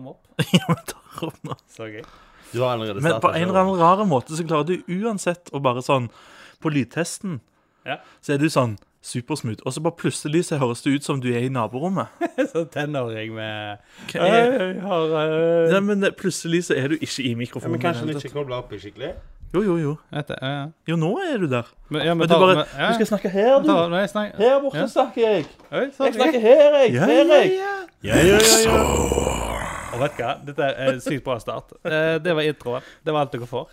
tingen vi tar opp nå. Så gøy. Du har allerede Men på startet en eller annen rar måte så klarer du uansett å bare sånn På lydtesten Ja. så er du sånn supersmooth, og så bare plutselig så høres det ut som du er i naborommet. Sånn tenåring med Hva er- «Øy, har, øy». Nei, men det- plutselig så er du ikke i Ja, mikrofonen. men i kanskje den det hele ikke kobler opp i skikkelig? tatt. Jo, jo, jo. Vet du, ja, ja. Jo, nå er du der. Men, ja, men Men du ta- bare men- ja, Du skal snakke her, du. ta- nei, snakk- Her borte Ja. snakker jeg. Oi, så Jeg snakker gøy. her, jeg. Ja, her, ja, jeg. ja. Ja, ja, ja, ja. Og vet du hva? Dette er en sykt bra start. Eh, det var introen. Det var alt dere får.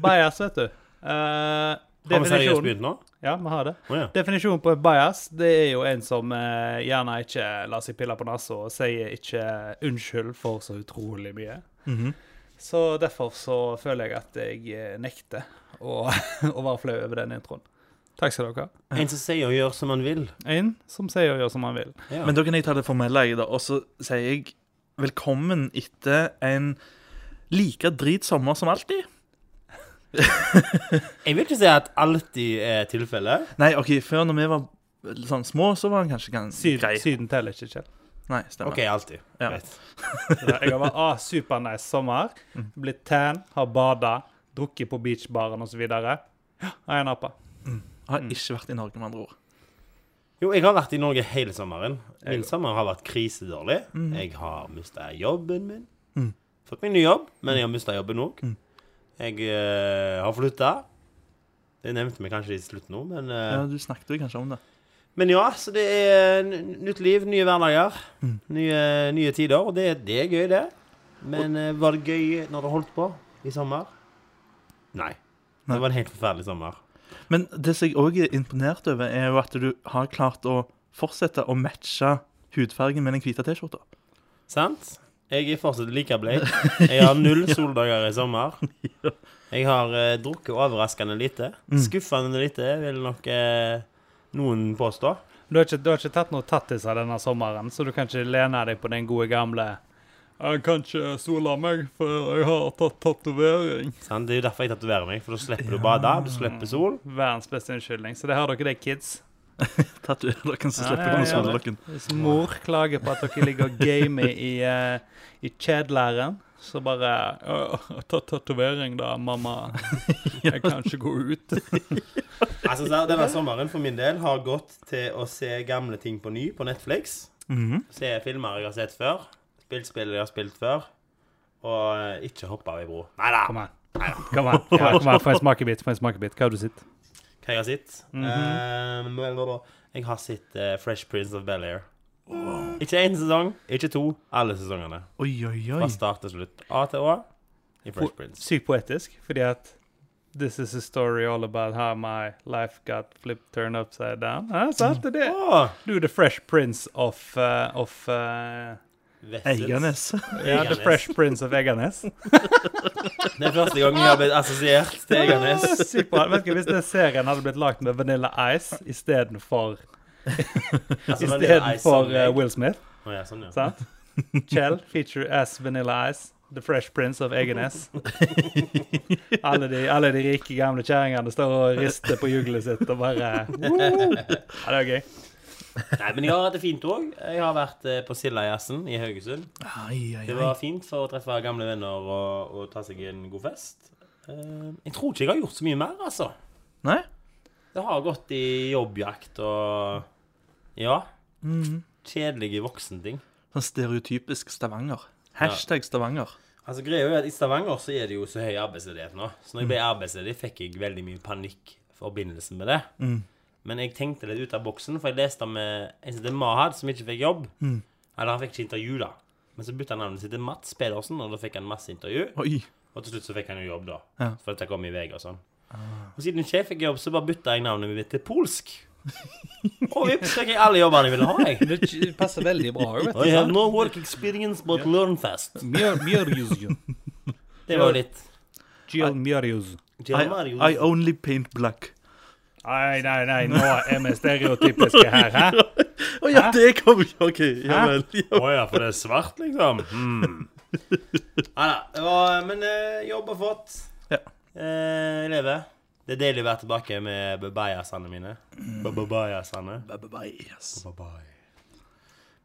Bias, vet du. Eh, Har vi seriøst definisjonen begynt nå? Ja, vi har det. Å ja. Definisjonen på en bias det er jo en som eh, gjerne ikke lar seg pille på nesa og sier ikke unnskyld for så utrolig mye. Mhm. Så derfor så føler jeg at jeg eh, nekter å, å være flau over den introen. Takk skal dere ha. En som sier og gjør som han vil. En som sier og gjør som han vil. Ja. Men da kan jeg ta det formelle, jeg, da. Og så sier jeg velkommen etter en like drit sommer som alltid. Jeg vil ikke si at alltid er tilfellet. Nei, OK, før når vi var sånn små, så var han kanskje ganske grei. Syden, syden teller ikke, Kjell. Nei, stemmer. OK, alltid. Ja. Greit. Jeg har vært ah, supernice sommer. Blitt tan, har bada, drukket på beachbaren osv. Og jeg nappa. Har ikke vært i Norge, med andre ord. Jo, jeg har vært i Norge hele sommeren. Min sommer har vært krisedårlig. Jeg har mista jobben min. Fått meg ny jobb, men jeg har mista jobben òg. Jeg eh, har flytta. Det nevnte vi kanskje i slutten nå, men eh, Ja, Du snakket jo kanskje om det. Men ja, så det er n- nytt liv, nye hverdager, nye, nye tider. Og det, det er gøy, det. Men eh, var det gøy når det holdt på i sommer? Nei. Nei. Det var en helt forferdelig sommer. Men det som jeg òg er imponert over, er jo at du har klart å fortsette å matche hudfargen med den hvite T-skjorta. Sant? Jeg er fortsatt like bleik. Jeg har null soldager i sommer. Jeg har eh, drukket overraskende lite. Skuffende lite, vil nok eh, noen påstå. Du har ikke, du har ikke tatt noe tattis av denne sommeren, så du kan ikke lene deg på den gode gamle Jeg kan ikke sole meg, for jeg har tatt tatovering. Sant? Det er jo derfor jeg tatoverer meg, for da slipper du å bade, du slipper sol. Verdens beste unnskyldning. Så det har dere, det, kids. Tatuerer dere, så Ja, slipper ja, dere å ja. sole dere. Hvis mor klager på at dere ligger og gamer i, eh, i kjedelæren, så bare «Å, Jeg har tatt tatovering, da, mamma. Jeg kan ikke gå ut. Altså, så Denne sommeren for min del har gått til å se gamle ting på ny på Netflix. Mhm. Se filmer jeg har sett før. Spilt spill jeg har spilt før. Og eh, ikke hoppe av ei bro. Nei da, Kom an. Kom an, kom an, kom an. Få en smakebit. Få en smakebit. Hva har du sett? hva jeg har sett? Mhm. Eh, men da, da. jeg har sett eh, Fresh Prince of Bel-Air. Ikke én sesong, ikke to. Alle sesongene. Oi, oi, oi. Fra start til slutt. A til Å i Fresh Prince. Sykt poetisk, fordi at This is a story all about how my life got flipped, turned upside down. Ja, sant det er det? Åh, Du, The Fresh Prince of, eh, of eh, Vessels. Eiganes. Ja, The Egernes. Fresh Prince of Egernes. Det er første gang jeg har blitt assosiert til Egernes. Sykt bra. Vet ikke, Hvis den serien hadde blitt lagd med Vanilla Ice istedenfor Altså, men det er ei for sånn jeg- eh, Will Smith, Å, ja, sånn, ja. sant? Kjell, feature as Vanilla Ice. The Fresh Prince of Egernes. Alle de, alle de rike, gamle kjerringene står og rister på juglet sitt og bare «Woo!» Ja, det er gøy. Nei, men jeg har hatt det fint òg. Jeg har vært eh, på Sildajazzen i Haugesund. Ai, ai, ai. Det var fint for å treffe gamle venner og, og ta seg en god fest. Eh, jeg tror ikke jeg har gjort så mye mer, altså. Nei? Det har gått i jobbjakt og Ja. Mhm. Kjedelige voksenting. Sånn stereotypisk Stavanger. Hashtag Stavanger. Altså, greia er jo at I Stavanger så er det jo så høy arbeidsledighet nå. Så når jeg ble arbeidsledig, fikk jeg veldig mye panikk i forbindelse med det. Men jeg tenkte litt ut av boksen, for jeg leste om eh, en som heter Mahad, som ikke fikk jobb. Eller han fikk ikke intervju, da. Men så bytta han navnet sitt til Mats Pedersen, og da fikk han masse intervju. Oi. Og til slutt så fikk han jo jobb, da. Ja. For dette kom i VG og sånn. Og siden ikke jeg fikk jobb, så bare bytta jeg navnet mitt til polsk. Og vips, fikk jeg alle jobbene jeg ville ha, jeg. Det k- passer veldig bra òg, I have vet du. no work experience but learn fast. Mjør- Mjørjusjun. Det var jo litt Gjør mjørjus. I, I Marius. only paint black. Nei, nei, nei, nå er vi stereotypiske her, hæ? Å ja, det kom jo! OK, ja Hæ? vel. Å ja, for det er svart, liksom? Hmm. Nei da. det var- Men eh, jobb har fått. Ja. Eh, jeg lever. Det er deilig å være tilbake med bajasene mine. Bajasene. Bye, bye, bye, yes.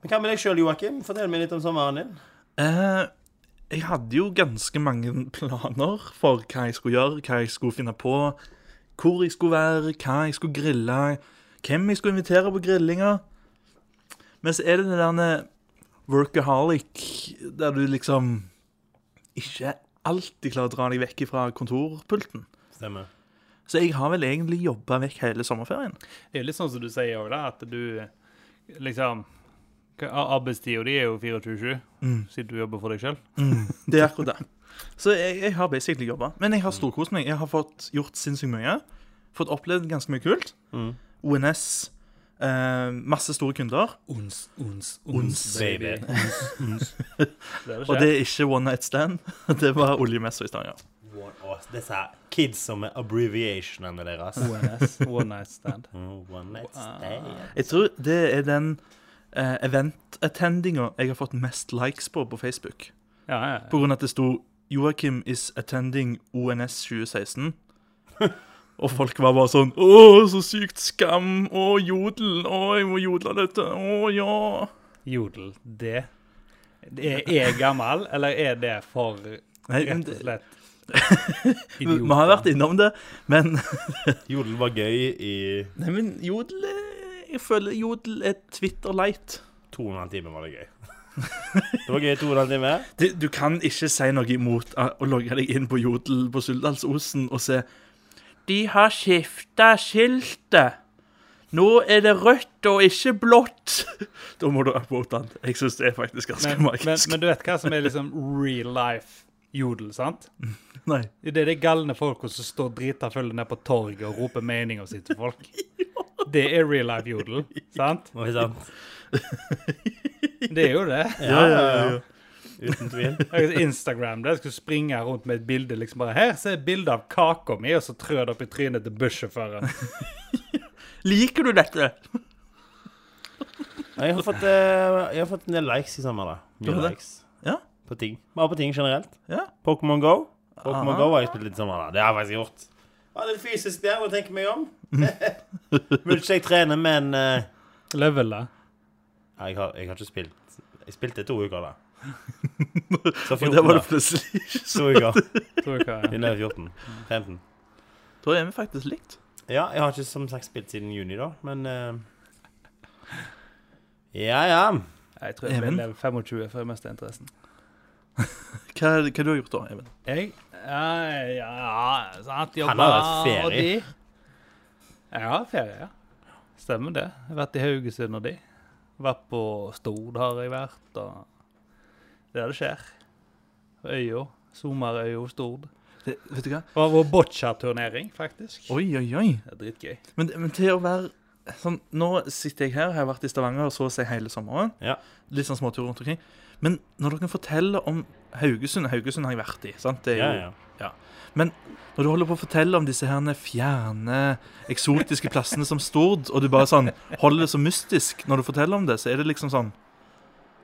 Men hva med deg sjøl, Joakim? Fortell meg litt om sommeren din. Eh, jeg hadde jo ganske mange planer for hva jeg skulle gjøre, hva jeg skulle finne på, hvor jeg skulle være, hva jeg skulle grille, hvem jeg skulle invitere på grillinga. Men så er det den der workaholic der du liksom ikke alltid klarer å dra deg vekk fra kontorpulten. Stemmer. Så jeg har vel egentlig jobba vekk hele sommerferien. Det er jo litt sånn som du sier òg, da, at du liksom Arbeidstida di er jo 24-7, siden du jobber for deg sjøl. Det er akkurat det. Så jeg, jeg har basically jobba. Men jeg har storkost meg. Jeg har fått gjort sinnssykt mye. Fått opplevd ganske mye kult. ONS. Eh, masse store kunder. Ons, ons, Baby. Det er det Og det skjer. er ikke one night stand. Det var oljemessa i Stavanger. One, å, disse her kids som er abbreviationene deres. ONS, One Night Stand. Mm, One night stand. Jeg tror det er den eh, event-attendinga jeg har fått mest likes på på Facebook. Ja, ja. På grunn av at det sto 'Joakim is attending ONS 2016'. Og folk var bare sånn 'Å, så sykt skam! Å, jodel! Å, jeg må jodle dette! Å, ja!' Jodel, det det Er jeg gammel, eller er det for rett Nei, men og det, slett vi har vært innom det, men, Jodel var gøy i nei, men jodel er- Jeg føler jodel er Twitter-light. 2,5 timer var det gøy. Det var gøy i 2,5 timer. Du, du kan ikke si noe imot å å logge deg inn på Jodel på Suldalsosen og se De har skifta skiltet. Nå er det rødt og ikke blått. Da må du upvote den. Jeg syns det er faktisk ganske men, men, magisk. men du vet hva som er liksom real life jodel, sant? Nei. Det er de galne folka som står drita fulle ned på torget og roper meninga si til folk. Det er real life jodel, sant? Var det sant? Det er jo det. Ja, ja, ja. Uten tvil. Jeg- Instagram der jeg skulle springe rundt med et bilde liksom bare Her ser jeg bilde av kaka mi, og så trør det opp i trynet til bussjåføren. Liker du dette? Ja, Jeg har fått, eh, jeg har fått en del likes i sommer. da har Mye det? likes Ja. på ting. Bare på ting generelt. Ja. Pokémon Go. Pokémon Aha. Go har jeg spilt litt i sommer. da Det har jeg faktisk gjort. Ja, litt fysisk der, må jeg tenke meg om. Mm. Burde ikke jeg trene, men eh, Levela. Nei, jeg, har, jeg har ikke spilt. Jeg spilte to uker, da. Så Og 14, der var det da. plutselig ikke så To uker. Tror jeg hva Vi er. er nede i 14. 15. Da er vi faktisk likt. Ja, jeg har ikke som sagt spilt siden juni, da, men eh, Ja, ja. Jeg tror jeg vil Even? leve 25 før jeg mister interessen. Hva, hva du har gjort da, Even? Jeg Eh, ja, ja, sant, jobba Han har vært ferie. og de. Jeg har ferie, ja. Stemmer det. Jeg har vært i Haugesund og de. Vært på Stord har jeg vært, og det er det skjer. Øya. Sommerøya Stord. Det, vet du hva? Det var vår boccia-turnering, faktisk. Oi, oi, oi. Det er dritgøy. Men, men til å være sånn, Nå sitter jeg her, har vært i Stavanger så å si hele sommeren. Ja. Litt sånn småtur rundt omkring. Men når dere forteller om Haugesund Haugesund har jeg vært i. sant? Det er jo, ja, ja. Men når du holder på å fortelle om disse herne fjerne, eksotiske plassene som Stord, og du bare sånn holder det så mystisk når du forteller om det, så er det liksom sånn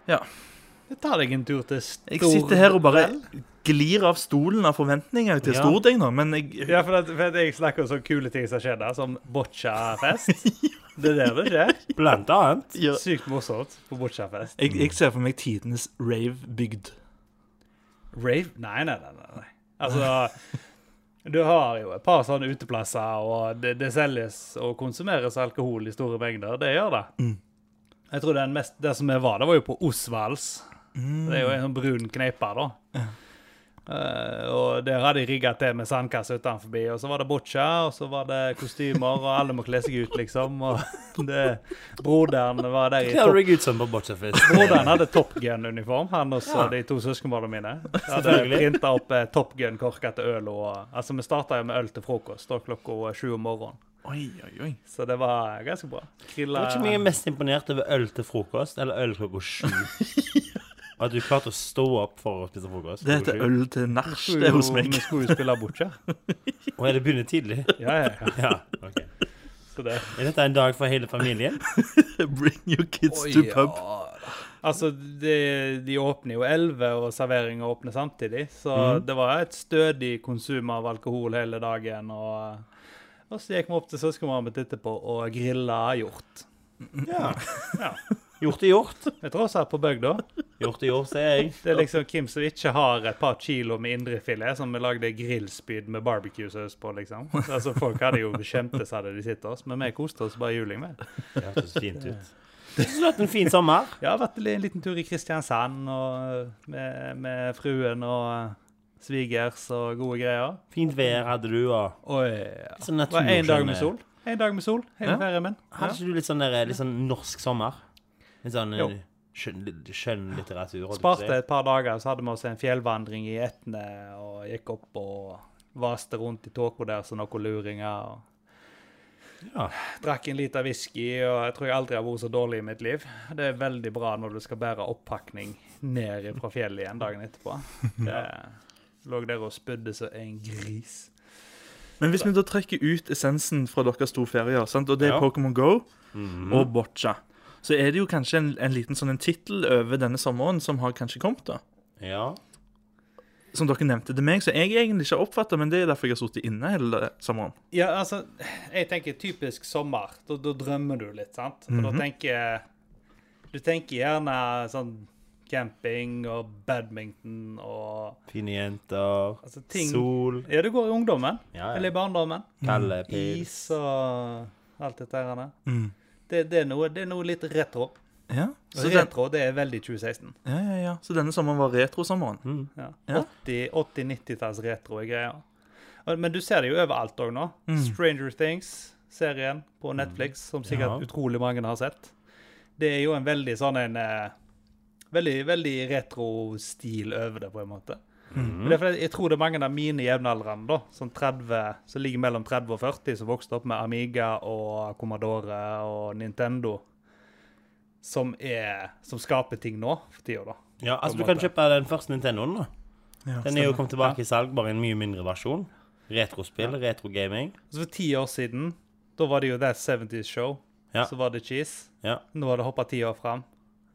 Jeg tar deg en tur til Stord. Jeg sitter her og bare vel? glir av stolen av forventninger til Ja. Stord, jeg nå, men jeg Ja, for, at, for at jeg snakker om sånne kule ting som skjer der, som boccia-fest. Det er der det skjer. Blant annet. Ja. Sykt morsomt på boccia-fest. Jeg, jeg ser for meg tidenes ravebygd. Rave? Nei, nei, nei. nei, nei. Altså, du har jo et par sånne uteplasser, og det, det selges og konsumeres alkohol i store mengder. Det gjør det. Jeg tror den mest, det som jeg var, det var jo på Osvalds. Det er jo en sånn brun kneipe, da. Eh, og der hadde de rigga til med sandkasse utenfor, og så var det boccia, og så var det kostymer, og alle må kle seg ut, liksom. Og det, broderen var der i Hva topp har du ut som på bocciafest? Broderen hadde Top Gun-uniform, han og Ja. så de to søskenbarna mine. Jeg hadde Selvfølgelig. printa opp eh, Top Gun-korker til øl. Og, altså, vi starta jo med øl til frokost da klokka sju om morgenen, Oi, oi, oi. så det var ganske bra. Krilla Det var ikke mye mest imponert over øl til frokost eller øl klokka sju. At du klarte å stå opp for å spise frokost. Det heter klokka sju. øl til nach, det er hos meg. Vi skulle jo spille boccia. Og er det begynner tidlig? Ja, ja, ja. Ja, ok. Så det Er dette en dag for hele familien? Bring your kids to pub. Altså, de, de åpner jo elleve, og serveringa åpner samtidig. Så Mhm. det var et stødig konsum av alkohol hele dagen. Og, og så gikk vi opp til søskenbarnet mitt etterpå og grilla hjort. Ja. Ja. Gjort er gjort. Vi tross alt på bygda. Gjort er gjort, sier jeg. Det er liksom hvem som ikke har et par kilo med indrefilet, som vi lagde grillspyd med barbecue-saus på, liksom. Altså, Folk hadde jo skjemtes hadde de sett oss, men vi koste oss bare juling med. Det hørtes fint ut. Jeg synes du har hatt en fin sommer. Ja, vært en liten tur i Kristiansand og med, med fruen og eh, svigers og gode greier. Fint vær hadde du, og Oi, ja. Sånn Det var én dag med naturskjønne- sol. En dag med sol hele Ja. ferien min. Hadde ikke du litt sånn, der, litt sånn norsk sommer? Litt sånn Jo. eh, skjønn, litt skjønn litteratur? holdt jeg på å si. Sparte et par dager, så hadde vi oss en fjellvandring i Etne og gikk opp og vaste rundt i tåka der som noen luringer. og Ja. Drakk en liter whisky, og jeg tror jeg aldri har vært så dårlig i mitt liv. Det er veldig bra når du skal bære oppakning ned fra fjellet igjen dagen etterpå. Det lå der og spydde som en gris. Men hvis vi da trekker ut essensen fra deres to ferier, sant? og det er Ja. Pokémon GO og Boccia, så er det jo kanskje en, en liten sånn en tittel over denne sommeren som har kanskje kommet, da. Ja. Som dere nevnte til meg, så jeg egentlig ikke har oppfatta, men det er derfor jeg har sittet inne hele sommeren. Ja, altså, jeg tenker typisk sommer. Da, da drømmer du litt, sant? Og Mhm. da tenker Du tenker gjerne sånn camping og badminton og Fine jenter, altså ting sol Ja, du går i ungdommen. Ja, ja. Eller i barndommen. Kalde Mm. pils. Is og alt dette her. da. Mm. Det, det, er noe, det er noe litt retro. Ja, så, den, Retro det er veldig 2016. ja, ja, ja. så denne sommeren var retrosommeren. Ja. Ja. 80-, 80-90-talls retro er greia. Og- Men du ser det jo overalt òg nå. Stranger Things, serien på Netflix, som Ja. sikkert utrolig mange har sett. Det er jo en veldig sånn en eh, Veldig, veldig retro-stil over det, på en måte. Men Det er fordi jeg tror det er mange av mine jevnaldrende da, som, 30, som ligger mellom 30 og 40, som vokste opp med Amiga og Commodore og Nintendo, som, er, som skaper ting nå for tida, da. Ja, en altså, du kan måte. kjøpe den første Nintendoen, da. Ja, Den er jo kommet tilbake i salg, bare i en mye mindre versjon. Retrospill, retrogaming. Så for ti år siden, da var det jo That 70's Show. Ja. Så var det Cheese. Ja. Nå har det hoppa ti år fram.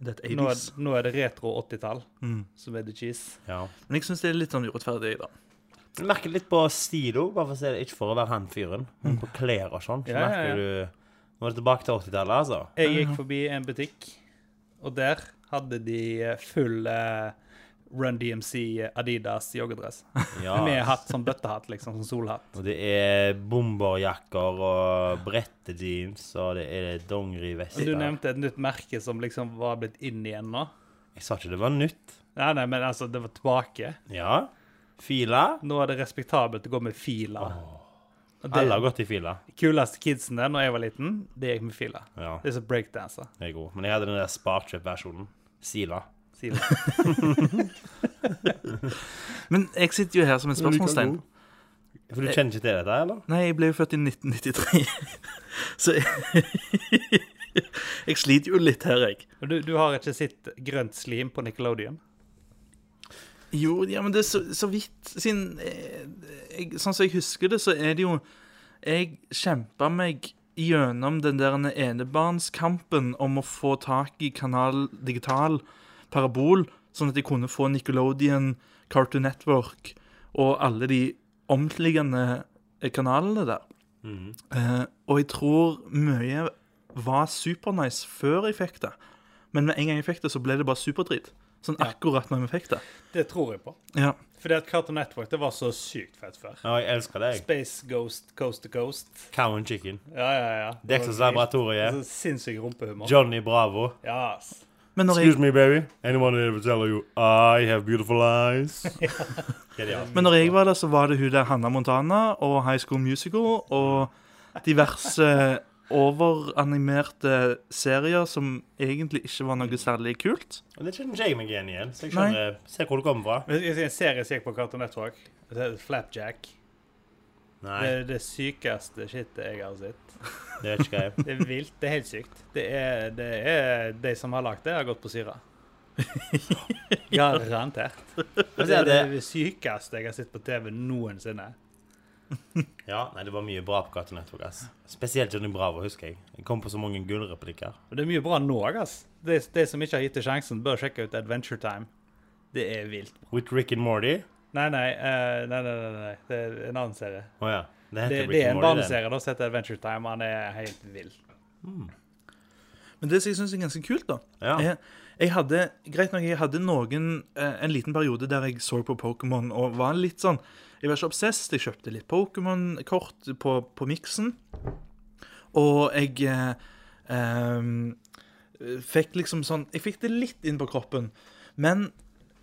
Det er et Nå er, 80s. nå er det retro 80-tall Mm. som er The Cheese. ja. Men jeg syns det er litt sånn urettferdig, da. Du merker litt på stil òg, bare for å si det, ikke for å være han fyren, men på klær og sånn. Så Ja, ja, ja. merker du Nå er det tilbake til 80-tallet, altså. Jeg gikk forbi en butikk, og der hadde de eh, full eh, Run DMC Adidas joggedress. Med Ja. hatt som bøttehatt, liksom. Som solhatt. Og det er bomberjakker og brettejeans, og det er Du dongerivester. nevnte et nytt merke som liksom var blitt inn igjen nå. Jeg sa ikke det var nytt. Nei, nei, men altså, det var tilbake. Ja. Fila. Nå er det respektabelt å gå med fila. Og Alle har Det gått i fila. kuleste kidsen der når jeg var liten, det gikk med fila. Ja, Det er som breakdanser. det er god. Men jeg hadde den der Spartrip-versjonen. Sila. sier de. Men jeg sitter jo her som en spørsmålstegn. For du kjenner ikke til dette, eller? Nei, jeg ble jo født i 1993, så jeg, jeg sliter jo litt her, jeg. Men Du, du har ikke sett grønt slim på Nickelodeon? Jo, ja, men det er så, så vidt Siden eh, jeg, Sånn som jeg husker det, så er det jo Jeg kjempa meg gjennom den der enebarnskampen om å få tak i Kanal Digital Parabol, sånn at jeg kunne få Nickelodeon, Cartoon Network og alle de omtliggende kanalene der. Eh, og jeg tror mye var supernice før jeg fikk det. Men med en gang jeg fikk det, så ble det bare superdrit. Sånn akkurat når vi fikk det. Det tror jeg på. Ja. Fordi at Cartoon Network det var så sykt fett før. Ja, jeg elsker deg. Space Ghost Coast to Coast. Cow and Chicken. Ja, ja, ja. Dexters Det var Laboratoriet. helt- Så sinnssyk rumpehumor. Johnny Bravo. Ja, ass. Men når jeg, me, baby. Anyone ever tell you I have beautiful eyes? Genialt. men når jeg var der, så var det hun der Hanna Montana og High School Musical og diverse eh, overanimerte serier som egentlig ikke var noe særlig kult. Og det kjenner ikke jeg meg igjen igjen, så jeg skjønner Se hvor du kommer fra. Men jeg skal si En serie som gikk på Cartoon Network, det heter Flapjack. Det Nei, er det sykeste shitet jeg har sett. det er ikke jeg. Det er vilt. Det er helt sykt. Det er, det er De som har lagd det, har gått på syra. Garantert. Men Det så er er det det sykeste jeg har sett på TV noensinne. Ja, nei, det var mye bra på Cartoon Network, ass. Spesielt Johnny Bravo, husker jeg. Jeg kom på så mange gullreplikker. Og det er mye bra nå òg, ass. De, de som ikke har gitt det sjansen, bør sjekke ut Adventure Time. Det er vilt. With Rick and Morty. Nei, nei, eh, nei, nei, nei, nei. Det er en annen serie. Å ja. Det Det, heter det Rick and er en Morty. den. barneserie da, som heter Adventure Time. Han er helt vill. Men det som jeg syns er ganske kult, da Ja. jeg, jeg hadde, Greit nok, jeg hadde noen eh, en liten periode der jeg så på Pokémon og var litt sånn Jeg var ikke obsess, jeg kjøpte litt Pokémon-kort på, på miksen. Og jeg eh, ehm, fikk liksom sånn Jeg fikk det litt inn på kroppen. Men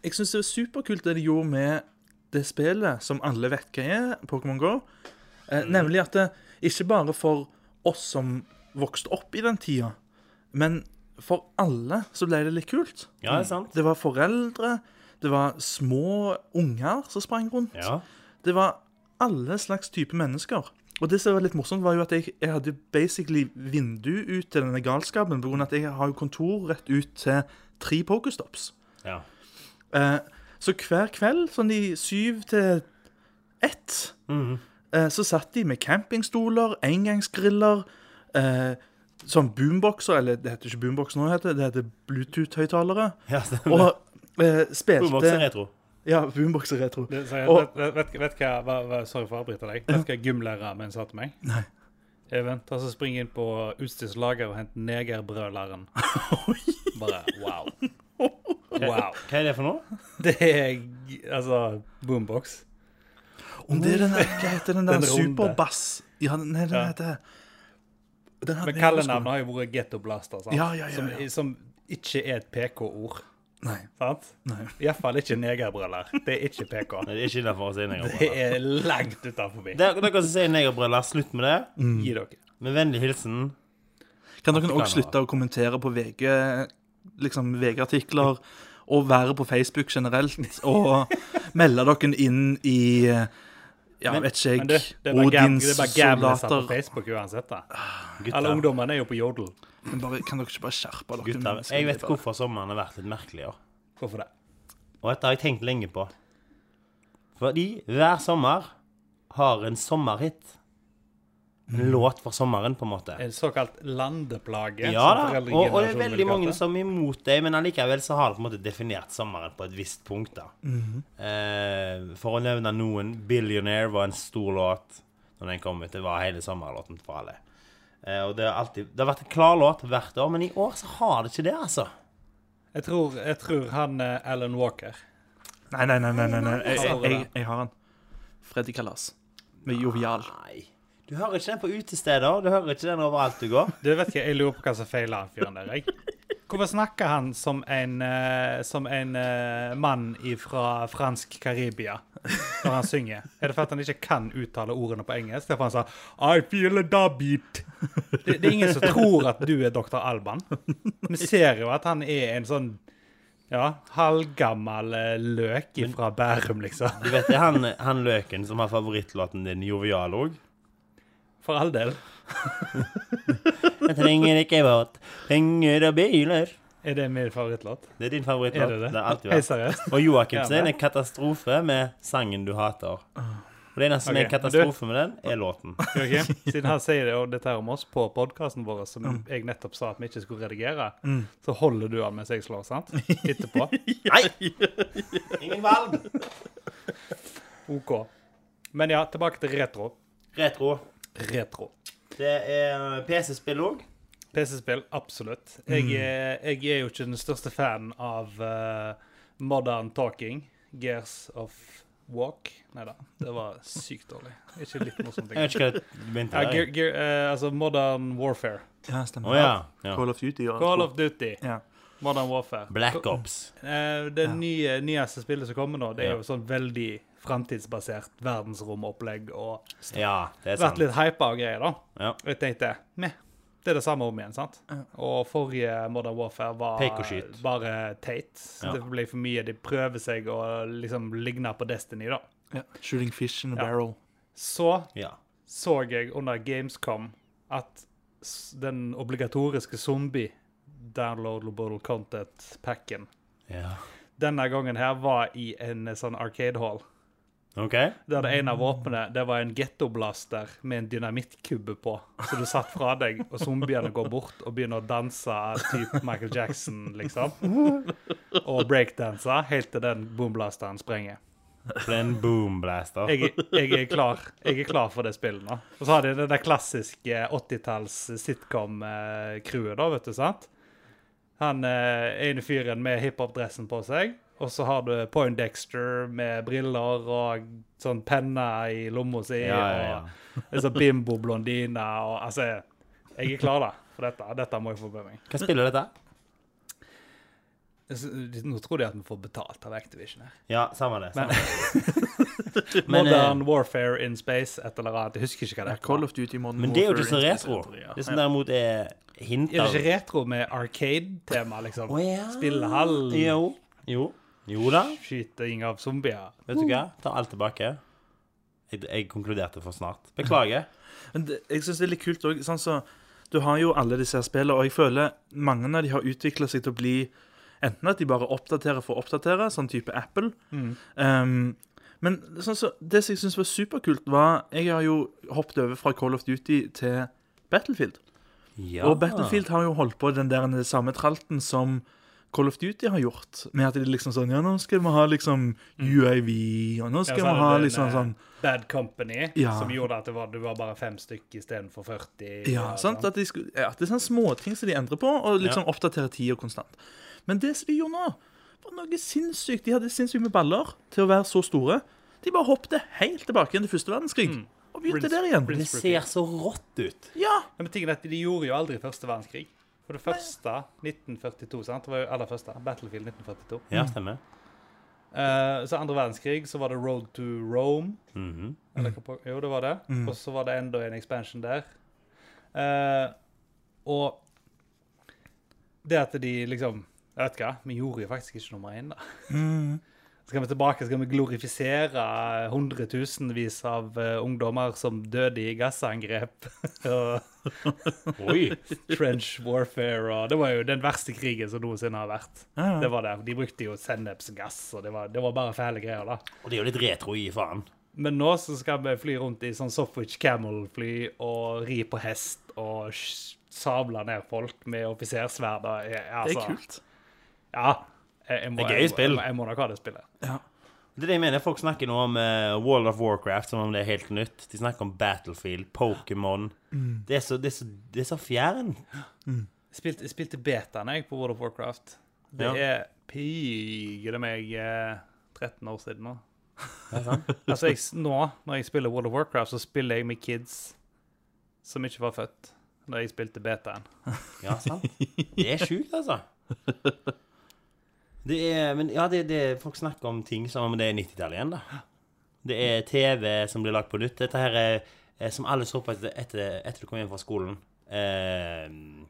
jeg syns det er superkult det de gjorde med det spillet som alle vet hva er, Pokémon GO. Eh, nemlig at det ikke bare for oss som vokste opp i den tida, men for alle så ble det litt kult. Ja, det er sant. Det var foreldre, det var små unger som sprang rundt. Ja. Det var alle slags type mennesker. Og det som var litt morsomt, var jo at jeg, jeg hadde basically vindu ut til denne galskapen, på grunn av at jeg har jo kontor rett ut til tre pokerstops. ja. Eh, så hver kveld, sånn i syv til ett, Mhm. eh, så satt de med campingstoler, engangsgriller, eh, sånn boomboxer, eller det heter ikke boombox nå, heter det, det heter Bluetooth-høyttalere, ja stemmer. og eh, spilte Boombox er retro. Ja, boomboxer retro. Det, så jeg, Og- vet, vet, vet hva, hva, hva, Sorry for å avbryte deg. Vet du hva gymlæreren min sa til meg? Nei. Even, ta så spring inn på utstyrslaget og hent negerbrøleren. Bare wow. Wow. Hva er det for noe? Det er g- altså boombox. Om det er den der, hva heter den der Den runde. superbass Ja, nei, den Ja. heter den hadde Men jeg på skolen. kallenavnet har jo vært gettoblaster, sant? Ja, ja, ja, ja. Som, som ikke er et PK-ord. Nei. sant? Nei. Iallfall ikke negerbrøller. Det er ikke PK. Nei, det er ikke derfor å si Det negerbrøller. er langt utenfor. meg. Dere dere som sier negerbrøller, slutt med det. Gi dere. Mm. Med vennlig hilsen Kan dere Afrikaner. også slutte å kommentere på VG, liksom VG-artikler, og være på Facebook generelt, og melde dere inn i eh, ja, vet Men det, ikke det jeg, er bare gam- Odins det er bare gamliser på soldater. Facebook uansett. da. Alle Gutter, ungdommene er jo på Jodel. Men bare, kan dere ikke bare skjerpe dere? gutter, mennesker? jeg vet hvorfor sommeren har vært litt merkelig i år. Hvorfor det? Og dette har jeg tenkt lenge på. Fordi hver sommer har en sommerhit. En låt for sommeren, på en måte. En såkalt landeplage. Ja da, og, og det er veldig mange som er imot det, men allikevel så har det på en måte definert sommeren på et visst punkt, da. Mhm. eh, for å nevne noen, 'Billionaire' var en stor låt når den kom ut. Det var hele sommerlåten for alle. Eh, og det har alltid Det har vært en klar låt hvert år, men i år så har det ikke det, altså. Jeg tror, jeg tror han eh, Alan Walker Nei, nei, nei, nei, nei, nei. Jeg, jeg, Har det. jeg, jeg har han. Freddy Kalas. Med Jovial. Nei. Du hører ikke den på utesteder, du hører ikke den overalt du går. Du vet ikke, Jeg lurer på hva som feiler han fyren der. jeg. Hvorfor snakker han som en, eh, som en eh, mann fra fransk Karibia når han synger? Er det fordi han ikke kan uttale ordene på engelsk? Derfor han sa I feel a dabit. Det, det er ingen som tror at du er Dr. Alban. Vi ser jo at han er en sånn ja, halvgammel eh, løk fra Bærum, liksom. Du vet det er han, han løken som har favorittlåten din, Jovial òg? For all del. Jeg trenger ikke båt, penger og biler. Er det min favorittlåt? Det er din favorittlåt. Er det det? det har alltid Hei, vært. seriøst? Og Joakim sin Ja, er katastrofe med sangen du hater. Og det eneste som Ok, er katastrofe med den, er låten. Joakim, siden han sier det, og dette her om oss på podkasten vår, som Mm. jeg nettopp sa at vi ikke skulle redigere, så holder du han mens jeg slår, sant? Etterpå. Nei! Ingen valg! OK. Men ja, tilbake til retro. Retro. Retro. Det er eh, PC-spill òg. PC-spill, absolutt. Mm. Jeg er, jeg er jo ikke den største fan av eh, modern talking. Gears of Walk. Nei da, det var sykt dårlig. Ikke litt morsomt. Jeg vet ikke hva engang. det Ja, begynte gear, der. gear, eh, altså Modern Warfare. Ja, Å stemmer. ja. ja. Call of Duty. og- Call of Duty. Ja. Modern Warfare. Black Ops. Eh, Det nye, nyeste spillet som kommer nå, det er Ja. jo sånn veldig framtidsbasert verdensromopplegg. Og Ja, det er vært sant. litt hypa og greier, da. Ja. Og jeg tenkte meh, det er det samme om igjen, sant? Og forrige Modern Warfare var Pek og skyt. bare teit. Ja. Det ble for mye. De prøver seg å liksom ligne på Destiny, da. ja. Shooting fish in a barrel. Så ja. så jeg under Gamescom at s- den obligatoriske zombie-downloadable content-packen ja. denne gangen her var i en eh, sånn arcade hall. OK? Der det ene av våpnene det var en gettoblaster med en dynamittkubbe på. Så du satt fra deg, og zombiene går bort og begynner å danse type Michael Jackson, liksom. Og breakdanse helt til den boomblasteren sprenger. For det er en boomblaster. Jeg, jeg, er klar. jeg er klar for det spillet nå. Og så har de det der klassiske 80-talls sitcom-crewet, da, vet du, sant? Han eh, ene fyren med hiphop-dressen på seg, og så har du Poindexter med briller og sånn penna i lomma si, Ja, ja, ja. og en sånn bimbo-blondine og Altså, jeg er klar da for dette. Dette må jeg få med meg. Hva spiller dette? Jeg sy- Altså, Nå tror de at vi får betalt av Activision her. Ja, samme det. Men- Samme. det. Men, eh, Modern Warfare in Space, et eller annet. Jeg husker ikke hva det er. Call of Duty Modern men det er jo ikke så Warfare, retro. ja. Det som derimot er hint Er av altså- det ikke retro med arcade-tema, liksom? Å, ja. Spillehall, Jo. Jo. Jo da. skyting av zombier. Vet Mm. du hva? Ta alt tilbake. Jeg, jeg konkluderte for snart. Beklager. Men det, jeg synes det er litt kult òg. Sånn så, du har jo alle disse her spillene, og jeg føler mange av de har utvikla seg til å bli Enten at de bare oppdaterer for å oppdatere, sånn type Apple. Mm. Um, men sånn så, det som jeg syns var superkult, var Jeg har jo hoppet over fra Call of Duty til Battlefield. Ja. Og Battlefield har jo holdt på den der den samme tralten som Call of Duty har gjort. Med at de liksom sånn Ja, nå skal vi ha liksom UAV, og nå skal Mm. Ja, så er vi det ha den, liksom eh, sånn Bad Company, Ja. som gjorde at det var, du var bare fem stykker istedenfor 40. Ja, og sant? sånn. At de skulle, ja, at det er sånne småting som de endrer på, og liksom oppdaterer tida konstant. Men det som de gjorde nå, var noe sinnssykt. De hadde sinnssykt med baller til å være så store. De bare hoppet helt tilbake igjen til første verdenskrig. Og begynte Rinse- der igjen. Det ser så rått ut. Ja, Ja, Men tingen er at De gjorde jo aldri første verdenskrig. For det første, 1942, sant? Det var jo aller første. Battlefield 1942. Ja, Mm. stemmer. Eh, så andre verdenskrig så var det Road to Rome. Eller hva på- jo, det var det. Og så var det enda en expansion der. Eh, og det at de liksom Jeg vet hva, vi gjorde jo faktisk ikke nummer én, da. Skal vi tilbake, skal vi glorifisere hundretusenvis av eh, ungdommer som døde i gassangrep og Oi. trench warfare og Det var jo den verste krigen som noensinne har vært. Ja, ja. Det var det. De brukte jo sennepsgass, og det var, det var bare fæle greier, da. Og det er jo litt retro i faen. Men nå så skal vi fly rundt i sånn Softwich Camel-fly og ri på hest og sj- sable ned folk med offisersverd. og jeg- det Altså, er kult. Ja. Jeg, jeg må, Det er gøy jeg, spill. Jeg, må- jeg må nok ha det spillet. Det er det jeg mener. Folk snakker nå om eh, World of Warcraft som om det er helt nytt. De snakker om Battlefield, Pokémon Mm. det, er så- det, er så- det er så fjern. Jeg spilte, jeg spilte betaen jeg på World of Warcraft. Det Ja. er pigre meg eh, 13 år siden nå. altså, jeg, s- nå, når jeg spiller World of Warcraft, så spiller jeg med kids som ikke var født da jeg spilte betaen. Ja, sant. Det er sjukt, altså. Det er, men ja, det, det, folk snakker om ting som om det er 90-tallet igjen, da. Det er TV som blir lagt på nytt. Dette her er eh, som alle så på etter, etter, etter du kom hjem fra skolen. Eh,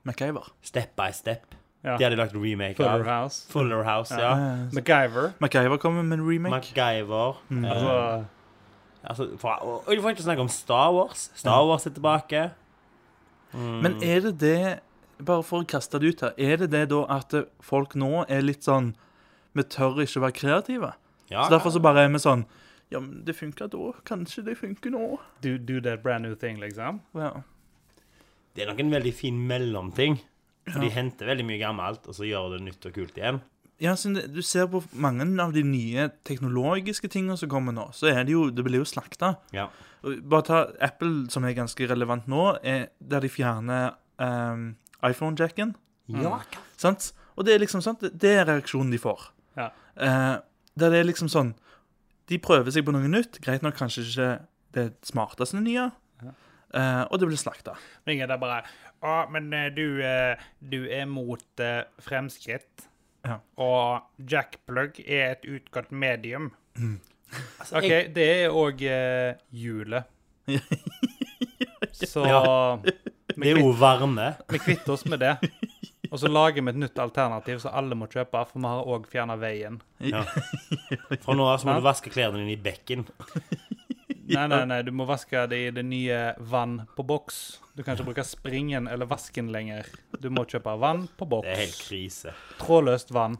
MacGyver. step by step. Ja. Det har de lagd remake Fuller av. House. Fuller House, ja. MacGyver. Eh, MacGyver kommer med en remake. MacGyver. Eh, Altså, altså, fra, og, og du får ikke snakke om Star Wars. Star Wars er tilbake. Men er det det Bare for å kaste det ut her. Er det det da at folk nå er litt sånn Vi tør ikke være kreative? Ja, Så derfor så bare er vi sånn Ja, men det funka da. Kanskje det funker nå. do, do that brand new thing, liksom. Ja. Det er nok en veldig fin mellomting. For de henter veldig mye gammelt, og så gjør det nytt og kult igjen. Ja, så det- Du ser på mange av de nye teknologiske tingene som kommer nå, så er det jo, det blir jo slakta. Ja. Og Bare ta Apple, som er ganske relevant nå, er der de fjerner ehm, iPhone-jacken. Sant? Og det er liksom sant, det er reaksjonen de får. Ja. Eh, der det er liksom sånn De prøver seg på noe nytt. Greit nok kanskje ikke det smarteste nye, eh, og det blir slakta. Men ingen der bare Å, men eh, du, eh, du er mot eh, fremskritt. Ja. Og jackplug er et utgått medium. Altså, OK, jeg, det er òg eh, hjulet. Så det er jo varme. vi kvitter oss med det. Og så lager vi et nytt alternativ som alle må kjøpe, for vi har òg fjerna veien. Ja. Fra nå av så må du vaske klærne dine i bekken. Nei, nei, nei, du må vaske det i det nye vann på boks. Du kan ikke bruke springen eller vasken lenger. Du må kjøpe vann på Det er helt boks. krise. Trådløst vann.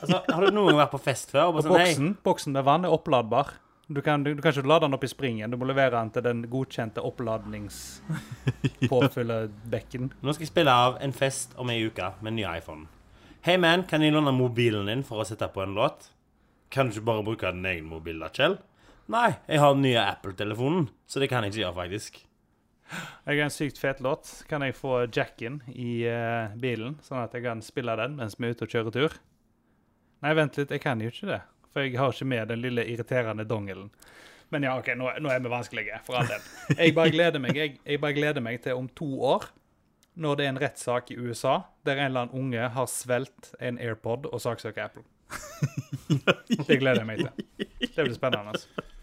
Altså, har du noen gang vært på fest før? Og bare sånn, hei, Boksen, boksen med vann er oppladbar. Du kan, du, du kan ikke lade den opp i springen. Du må levere den til den godkjente oppladningspåfyllebekken. nå skal jeg spille av en fest om ei uke med en ny iPhone. Hei, man, kan jeg låne mobilen din for å sette på en låt? Kan du ikke bare bruke din egen mobil, da, Kjell? Nei, jeg har den nye Apple-telefonen, så det kan jeg ikke gjøre, faktisk. Jeg har en sykt fet låt. Kan jeg få jacken i eh, bilen, sånn at jeg kan spille den mens vi er ute og kjører tur? Nei, vent litt, jeg kan jo ikke det. For jeg har ikke med den lille irriterende dongelen. Men ja, OK, nå, nå er vi vanskelige, for all del. Jeg bare gleder meg, jeg, jeg bare gleder meg til om to år, når det er en rettssak i USA der en eller annen unge har svelgt en AirPod og saksøker Apple. Det gleder jeg meg til. Det blir spennende. altså.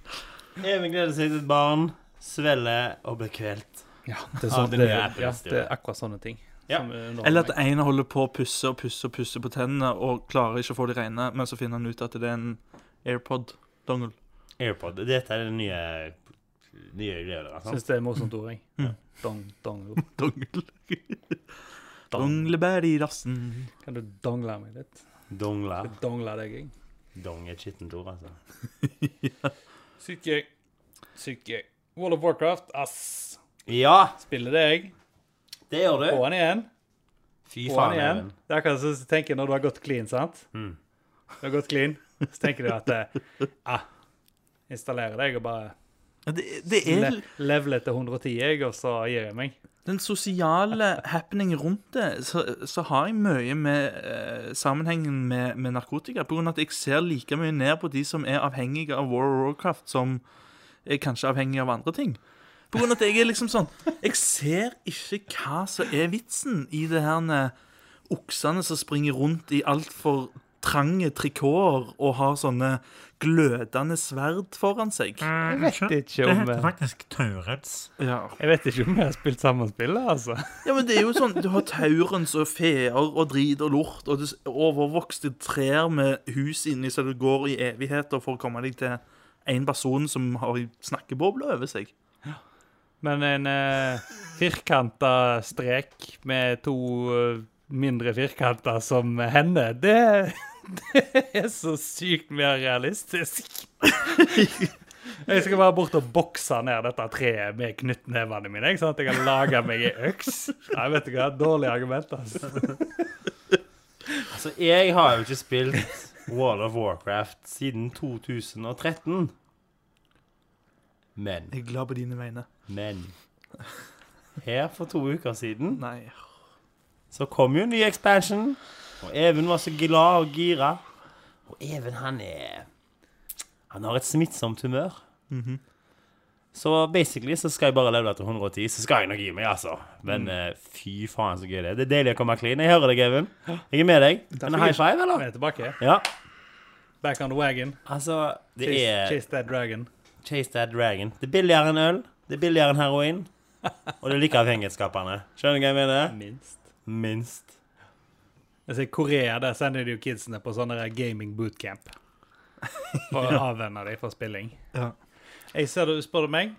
Even gleder seg til et barn, svelger og blir kvelt. Ja, det er, sånn- det, det er Apple, ja, det er det er akkurat sånne ting. Ja. som eh, underholder Eller meg. at en holder på å pusse og pusse og pusse på tennene og klarer ikke å få de rene, men så finner han ut at det er en AirPod-dongle. AirPod. Dette er den nye, nye greia der. altså. sant? Syns det er morsomt ord, jeg. Ja. Dong, dong, Dongle. dong. Donglebær i rassen. Kan du dongle meg litt? Dongler. Jeg dongler deg, jeg. Dong er et skittent ord, altså. Sykt gøy. Sykt gøy. World of Warcraft, ass. Ja, Spiller det, jeg. det gjør du. På'n igjen. Fy På'n faen, igjen. Even. Det er akkurat som du tenker når du har gått clean, sant? Mm. Du har gått clean, så tenker du at eh, ah, installerer deg og bare Ja, Det, det le er leveler til 110, jeg, og så gir jeg meg. den sosiale happeningen rundt det. Så, så har jeg mye med eh, sammenhengen med, med narkotika. På grunn av at jeg ser like mye ned på de som er avhengige av War of Warcraft, som er kanskje avhengige av andre ting. På grunn av at jeg er liksom sånn Jeg ser ikke hva som er vitsen i det her med oksene som springer rundt i altfor trange trikåer og har sånne glødende sverd foran seg. Jeg vet ikke om eh, faktisk Taurets. Ja. jeg vet ikke om jeg har spilt samme spill, altså. Ja, men det er jo sånn, Du har taurens og feer og drit og lort og du- overvokste trær med hus inni så du går i evigheter for å komme deg til en person som har ei snakkeboble over seg. Men en uh, firkanta strek med to eh, mindre firkanter som henne, det, det er så sykt mer realistisk. Jeg skal bare bort og bokse ned dette treet med knyttnevene mine. Ikke sant? Jeg kan lage meg ei øks. Nei, vet du hva? Dårlig argument, altså. Altså, jeg har jo ikke spilt World of Warcraft siden 2013. Men, Jeg er glad på dine vegne. men Her for to uker siden Nei. så kom jo en ny expansion. Og Even var så glad og gira. Og Even, han er Han har et smittsomt humør. Mhm. Så basically så skal jeg bare leve til 110, så skal jeg nok gi meg, altså. Mm. Men eh, fy faen, så gøy det er. Det er deilig å komme clean. Jeg hører deg, Even. Jeg er med deg. En fikk high jeg- five, Vi eller? er tilbake. Ja. Back on the wagon. Altså, det Chase, er chase that dragon. Chase That Dragon. Det er billigere enn øl, det er billigere enn heroin, og det er like avhengighetsskapende. Skjønner du hva jeg mener? Minst. Minst. Jeg ser Korea, der sender de jo kidsene på sånne der gaming bootcamp. For å avvenne dem fra spilling. Ja. Jeg ser det, Spør du meg,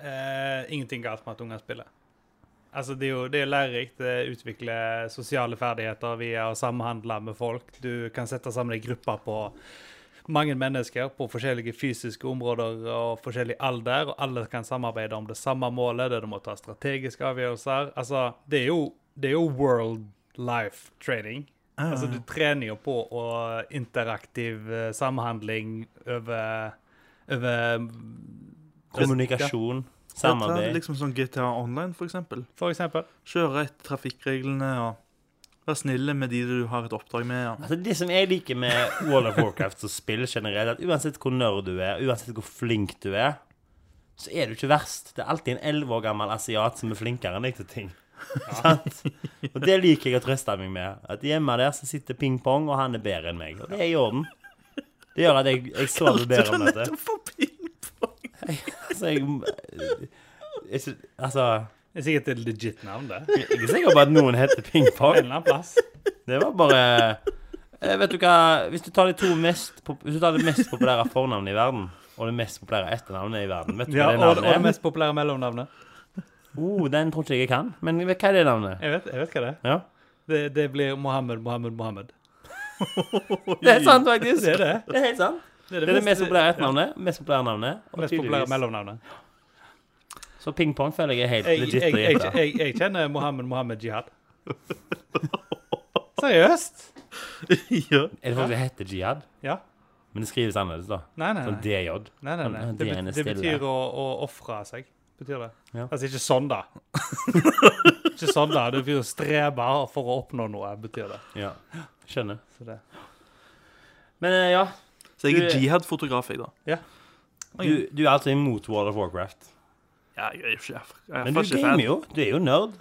eh, ingenting galt med at unger spiller. Altså, det er jo det er lærerikt. Det utvikler sosiale ferdigheter via å samhandle med folk. Du kan sette sammen ei gruppe på mange mennesker på forskjellige fysiske områder og forskjellig alder, og alle kan samarbeide om det samme målet, der du må ta strategiske avgjørelser. Altså, det er jo, det er jo world life training. Ah. Altså, du trener jo på å interaktiv eh, samhandling over, over Kommunikasjon, Dette er samarbeid. Liksom sånn GTA Online, for eksempel. For eksempel. Kjøre etter trafikkreglene og være snille med de du har et oppdrag med. Ja. Altså Det som jeg liker med World of Warcraft som spill generelt, at uansett hvor nerd du er, uansett hvor flink du er, så er du ikke verst. Det er alltid en elleve år gammel asiat som er flinkere enn deg til ting. Sant? Og det liker jeg å trøste meg med. At hjemme der så sitter ping-pong, og han er bedre enn meg. Og det er i orden. Det gjør at jeg, jeg sover bedre om dette. nettopp for pingpong! Altså, jeg, jeg sy- Altså Det er sikkert et legit navn, det. Jeg er ikke sikker på at noen heter På en pingpong. eller annen plass. Det var bare eh, Vet du hva Hvis du tar de to mest pop- Hvis du tar det mest populære fornavnet i verden, og det mest populære etternavnet i verden Vet du Ja, hva det og, og det navnet er? mest populære mellomnavnet. Oh, den tror ikke jeg jeg kan. Men vet- hva er det navnet? Jeg vet, jeg vet hva det er. Ja. Det, det blir Mohammed, Mohammed, Mohammed. Det er sant, faktisk. Det er det. Det er helt sant. Det er det mest populære etternavnet, mest populære navnet, og mest populære tydeligvis mellomnavnet. Så pingpong føler jeg er helt Jeg, legit jeg, å jeg, gjette. jeg, jeg kjenner Mohammed Mohammed Jihad. Seriøst? ja. Er det folk som heter Jihad? Ja. Men det skrives annerledes, da. Nei, nei, Sånn nei. DJ. nei, nei, nei. Sånn, Det, det ene bet- det stille. betyr å, å ofre seg. Betyr det. Ja. Altså ikke sånn, da. ikke sånn, da. Det betyr å strebe for å oppnå noe, betyr det. Ja. Skjønner. Så det. Men eh, ja, Så jeg er Du- jihad-fotograf, jeg, da. du, du er altså imot World of Warcraft. Ja, jeg er jo ikke, jeg er Men du ikke fan. gamer jo. Du er jo nerd.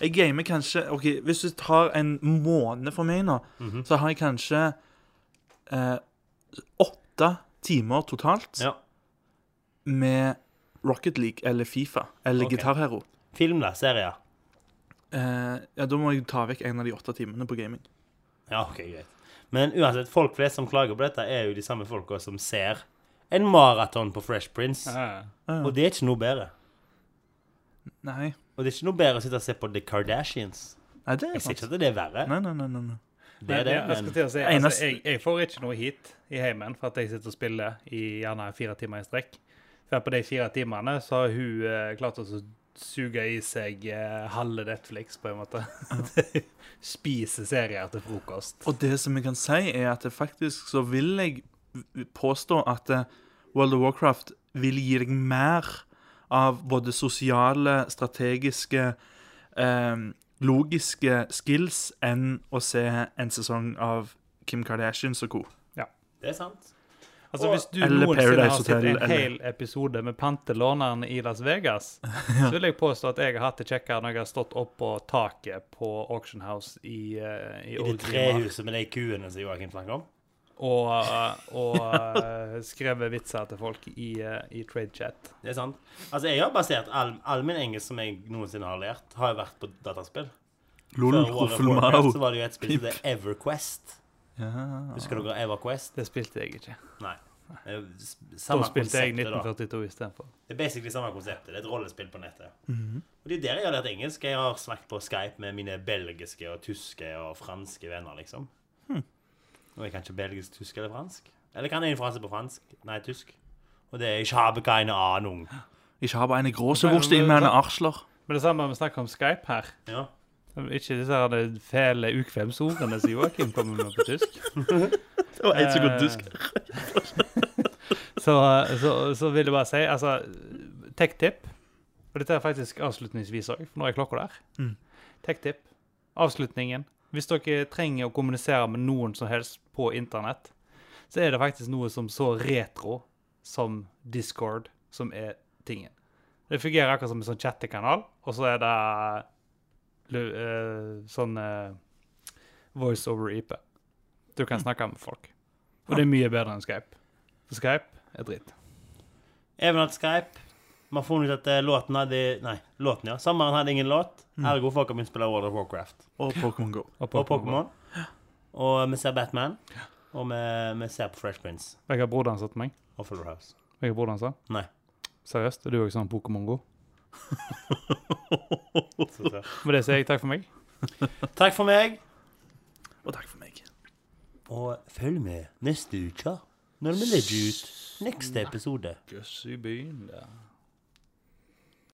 Jeg gamer kanskje ok, Hvis du tar en måned for meg nå, så har jeg kanskje eh, åtte timer totalt Ja. med Rocket League eller Fifa eller Ok. Guitar Hero. Film, da. Serier. Eh, ja, da må jeg ta vekk en av de åtte timene på gaming. Ja, ok, greit. Men uansett, folk flest som klager på dette, er jo de samme folka som ser en maraton på Fresh Prince. Ja. Ja. Og det er ikke noe bedre. Nei. Og det er ikke noe bedre å sitte og se på The Kardashians. Nei, det er Jeg sier sant. ikke at det er verre. Nei, nei, nei, nei, nei. Det er det, jeg, skal men til å si, Eneste- altså, jeg, jeg får ikke noe hit i heimen for at jeg sitter og spiller i gjerne fire timer i strekk. For på de fire timene så har hun eh, klart å suge i seg eh, halve Netflix, på en måte. Spise serier til frokost. Og det som jeg kan si, er at det faktisk så vil jeg påstå at eh, World of Warcraft vil gi deg mer av både sosiale, strategiske, eh, logiske skills enn å se en sesong av Kim Kardashian og co. det er sant. Altså, hvis du Eller noensinne har Paradise sett en Hotel, eller- hel episode med pantelåneren i Las Vegas, så vil jeg påstå at jeg har hatt det kjekkere når jeg har stått oppå taket på Auction House i, eh, i, I det Old Grimar. trehuset med de kuene som Joakim snakker om. og, og eh, skrevet vitser til folk i, eh, i tradechat. Det er sant. Altså, jeg har basert all, all min engelsk som jeg noensinne har lært, har jo vært på dataspill. Lol, Før World of Warcraft så Ruffelmau. var det jo et spill som het Everquest. Ja. Husker dere Everquest? Det spilte jeg ikke. Nei. Det er jo s- Da Samme spilte jeg konseptet, da. 1942 istedenfor. Det er basically samme konseptet. Det er et rollespill på nettet. Mhm. Og det er jo der jeg har lært engelsk. Jeg har snakket på Skype med mine belgiske og tyske og franske venner, liksom. Hm. Og jeg kan ikke belgisk, tysk eller fransk. Eller kan en franse på fransk? Nei, tysk. Og det er Ich habe keine Ahnung. Ikke ha bare en gråsegurst i med en arsler. Men det samme vi snakker om Skype her. Ja. Ikke disse her de fæle ukvemsordene som Joakim kommer med på tysk. Det var en som kunne dusk. Eh, Så, så, så vil jeg bare si, altså Tech-tipp Og dette er faktisk avslutningsvis òg, for nå er klokka der. Mm. Tech-tipp. Avslutningen. Hvis dere trenger å kommunisere med noen som helst på internett, så er det faktisk noe som så retro som Discord som er tingen. Det fungerer akkurat som en sånn chattekanal, og så er det lu- eh, sånn eh, voice over IP. Du Mm. kan snakke med folk. Og det er mye bedre enn Skype. For Skype er dritt. Even Eh, hatt Skype. Man har funnet ut at eh, låten hadde Nei, låten, ja. Sommeren hadde ingen låt. Hm. Ergo folk har begynt å spille World of Warcraft. Og Pokémon Go. Og Pokémon. Og vi ser Batman. Og vi, vi ser på Fresh Prince Jeg har broderen satt meg. og Fuller House. Jeg har broderen sa. Nei. Seriøst, er du også sånn Pokémon Go? Så, så. Med det sier jeg takk for meg. Takk for meg. Og takk for meg. Og følg med neste uke når vi legger ut neste episode. Jøss i byen, da.